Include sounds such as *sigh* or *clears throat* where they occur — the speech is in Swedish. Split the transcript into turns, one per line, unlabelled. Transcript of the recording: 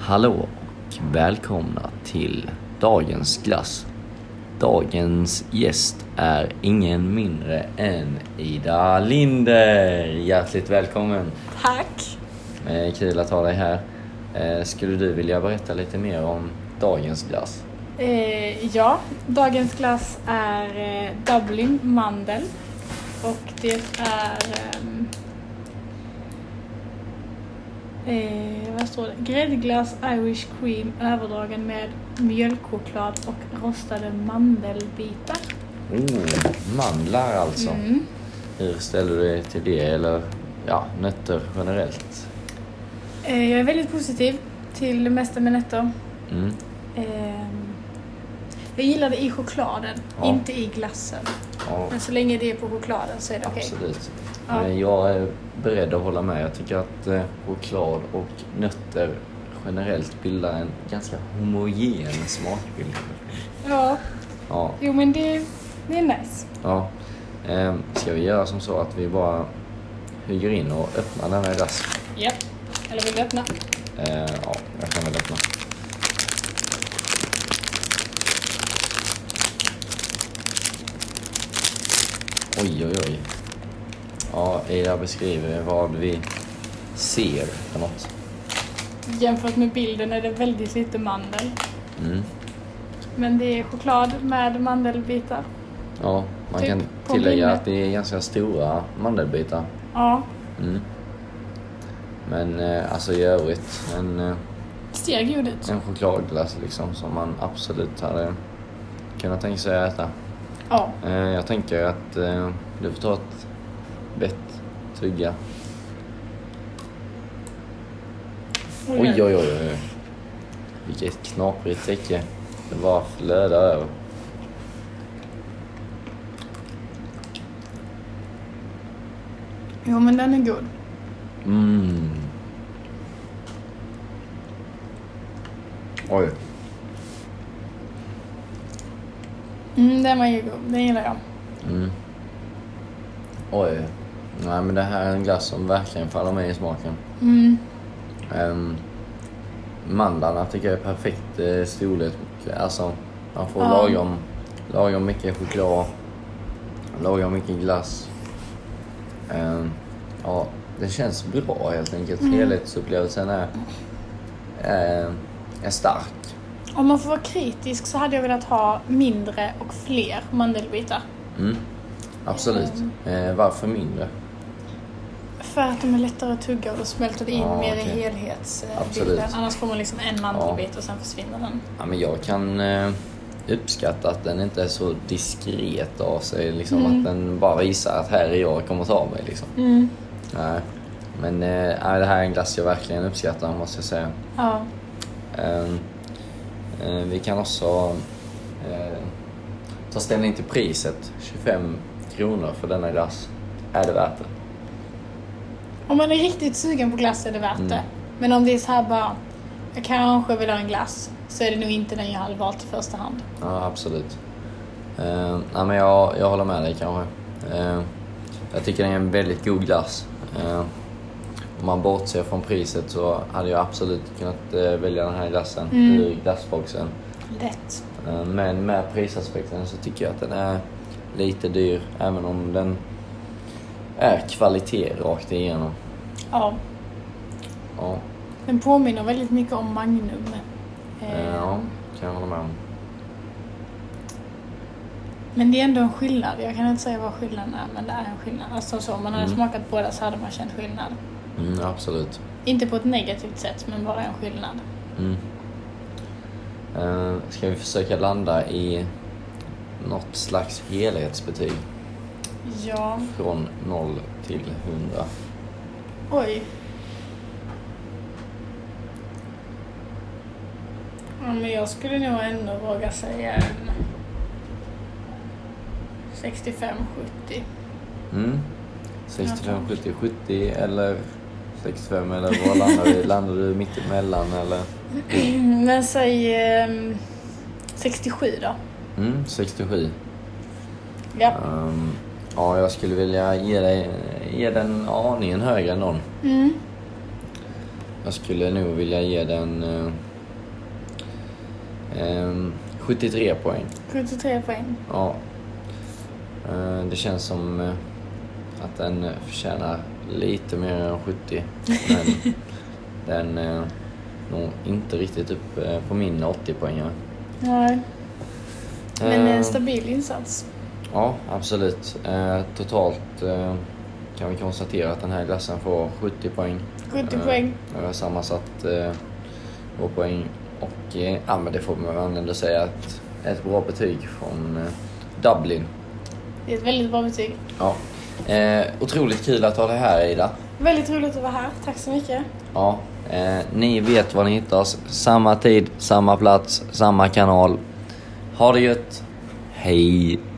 Hallå och välkomna till dagens glass. Dagens gäst är ingen mindre än Ida Linder. Hjärtligt välkommen!
Tack!
Eh, Kul att ha dig här. Eh, Skulle du vilja berätta lite mer om dagens glass?
Eh, ja, dagens glass är eh, Dublin mandel och det är ehm, eh, vad står det? Gräddglass Irish cream överdragen med mjölkchoklad och rostade mandelbitar.
Oh, mandlar alltså.
Mm.
Hur ställer du dig till det? Eller ja, nötter generellt?
Eh, jag är väldigt positiv till det mesta med nötter.
Mm.
Ehm, jag gillar det i chokladen,
Ja.
inte i glassen.
Ja,
Men så länge det är på chokladen så är det okej.
Absolut.
Ja.
Eh, Jag är beredd att hålla med. Jag tycker att eh, choklad och nötter generellt bildar en ganska homogen smakbild.
Ja,
Ja,
jo men det, det är nice.
ja. Eh, Ska vi göra som så att vi bara hugger in och öppnar den här glassen?
Japp. Eller vill du öppna?
Eh, Ja, jag kan väl öppna. Oj, oj, oj. Ja, Ida beskriver vad vi ser för något.
Jämfört med bilden är det väldigt lite mandel.
Mm.
Men det är choklad med mandelbitar.
Ja, man
Typ
kan
på
tillägga
minnet.
att det är ganska stora mandelbitar.
Ja.
Mm. Men eh, alltså i övrigt en, eh,
Ser god ut.
en chokladglass liksom som man absolut hade kunnat tänka sig att äta.
Ja.
Eh, jag tänker att eh, du får ta ett bett, tugga. Oj, oj, oj, oj. oj. Vilket knaprigt täcke. Det bara flödar över.
Jo men den är god.
Mm. Oj.
Mm, den var ju god. Den gillar jag.
Mm. Oj. Nej men det här är en glass som verkligen faller mig i smaken.
Mm.
Um, mandlarna tycker jag är perfekt eh, storlek. Alltså man får
Ja.
lagom, lagom mycket choklad, lagom mycket glass. Ehm, ja, det känns bra helt enkelt. Helhetsupplevelsen är, eh, är stark.
Om man får vara kritisk så hade jag velat ha mindre och fler mandelbitar.
Mm. Absolut. Eh, varför mindre?
För att de är lättare att tugga och då smälter det in
Ja,
mer i
Ah, okej. Absolut.
helhetsbilden. Annars får man liksom en mandelbit och sen försvinner den.
Ja, men jag kan eh, uppskatta att den inte är så diskret av sig. Liksom, Att den bara visar att här är jag, kommer ta mig. Liksom.
Mm.
Nej. Men eh, nej, det här är en glass jag verkligen uppskattar måste jag säga.
Ja.
Ehm, eh, vi kan också eh, ta ställning till priset. 25 kronor för denna glass. Är det värt det?
Om man är riktigt sugen på glass är det värt det. Men om det är så här bara, jag kanske vill ha en glass, så är det nog inte den jag hade valt i första hand.
Ja, absolut. Eh, nej, men jag, jag håller med dig kanske. Eh, jag tycker det är en väldigt god glass. Eh, om man bortser från priset så hade jag absolut kunnat eh, välja den här glassen ur glassboxen.
Lätt.
Eh, men med prisaspekten så tycker jag att den är lite dyr, även om den är kvalitet rakt igenom.
Ja.
Ja,
Den påminner väldigt mycket om Magnum.
eh,
Eh,
ja kan jag hålla med om.
Men det är ändå en skillnad. Jag kan inte säga vad skillnaden är, men det är en skillnad. Alltså så, om man hade smakat båda så hade man känt skillnad.
Mm, absolut.
Inte på ett negativt sätt, men bara en skillnad.
Mm. Eh, ska vi försöka landa i något slags helhetsbetyg
Ja.
från 0 till 100?
Oj. Ja, men jag skulle nog ändå våga säga en 65-70.
Mm. 65, 70, 70 eller 65 eller vad landar du? Landar du mittemellan eller?
*clears throat* Men säg ehm, 67 då.
Mm, 67.
Ja.
Ehm, ja, jag skulle vilja ge, dig, ge den aningen högre än någon.
Mm.
Jag skulle nog vilja ge den eh, ehm, 73 poäng.
73 poäng.
Ja. Eh, Det känns som eh, att den eh, förtjänar lite mer än 70. Men den är nog inte riktigt upp eh, på min 80 poäng.
Nej. Men
Eh,
en stabil insats.
Ja, absolut. Eh, Totalt eh, kan vi konstatera att den här glassen får 70 poäng.
70
Eh,
poäng.
Jag har sammansatt eh, vår poäng och eh, ja, men det får man ändå säga att ett bra betyg från eh, Dublin.
Det är ett väldigt bra betyg.
Ja. Eh, otroligt kul att ha det här Ida.
Väldigt roligt att vara här. Tack så mycket.
Ja. Eh, ni vet var ni hittar oss. Samma tid, samma plats, samma kanal. Ha det gött. Hej.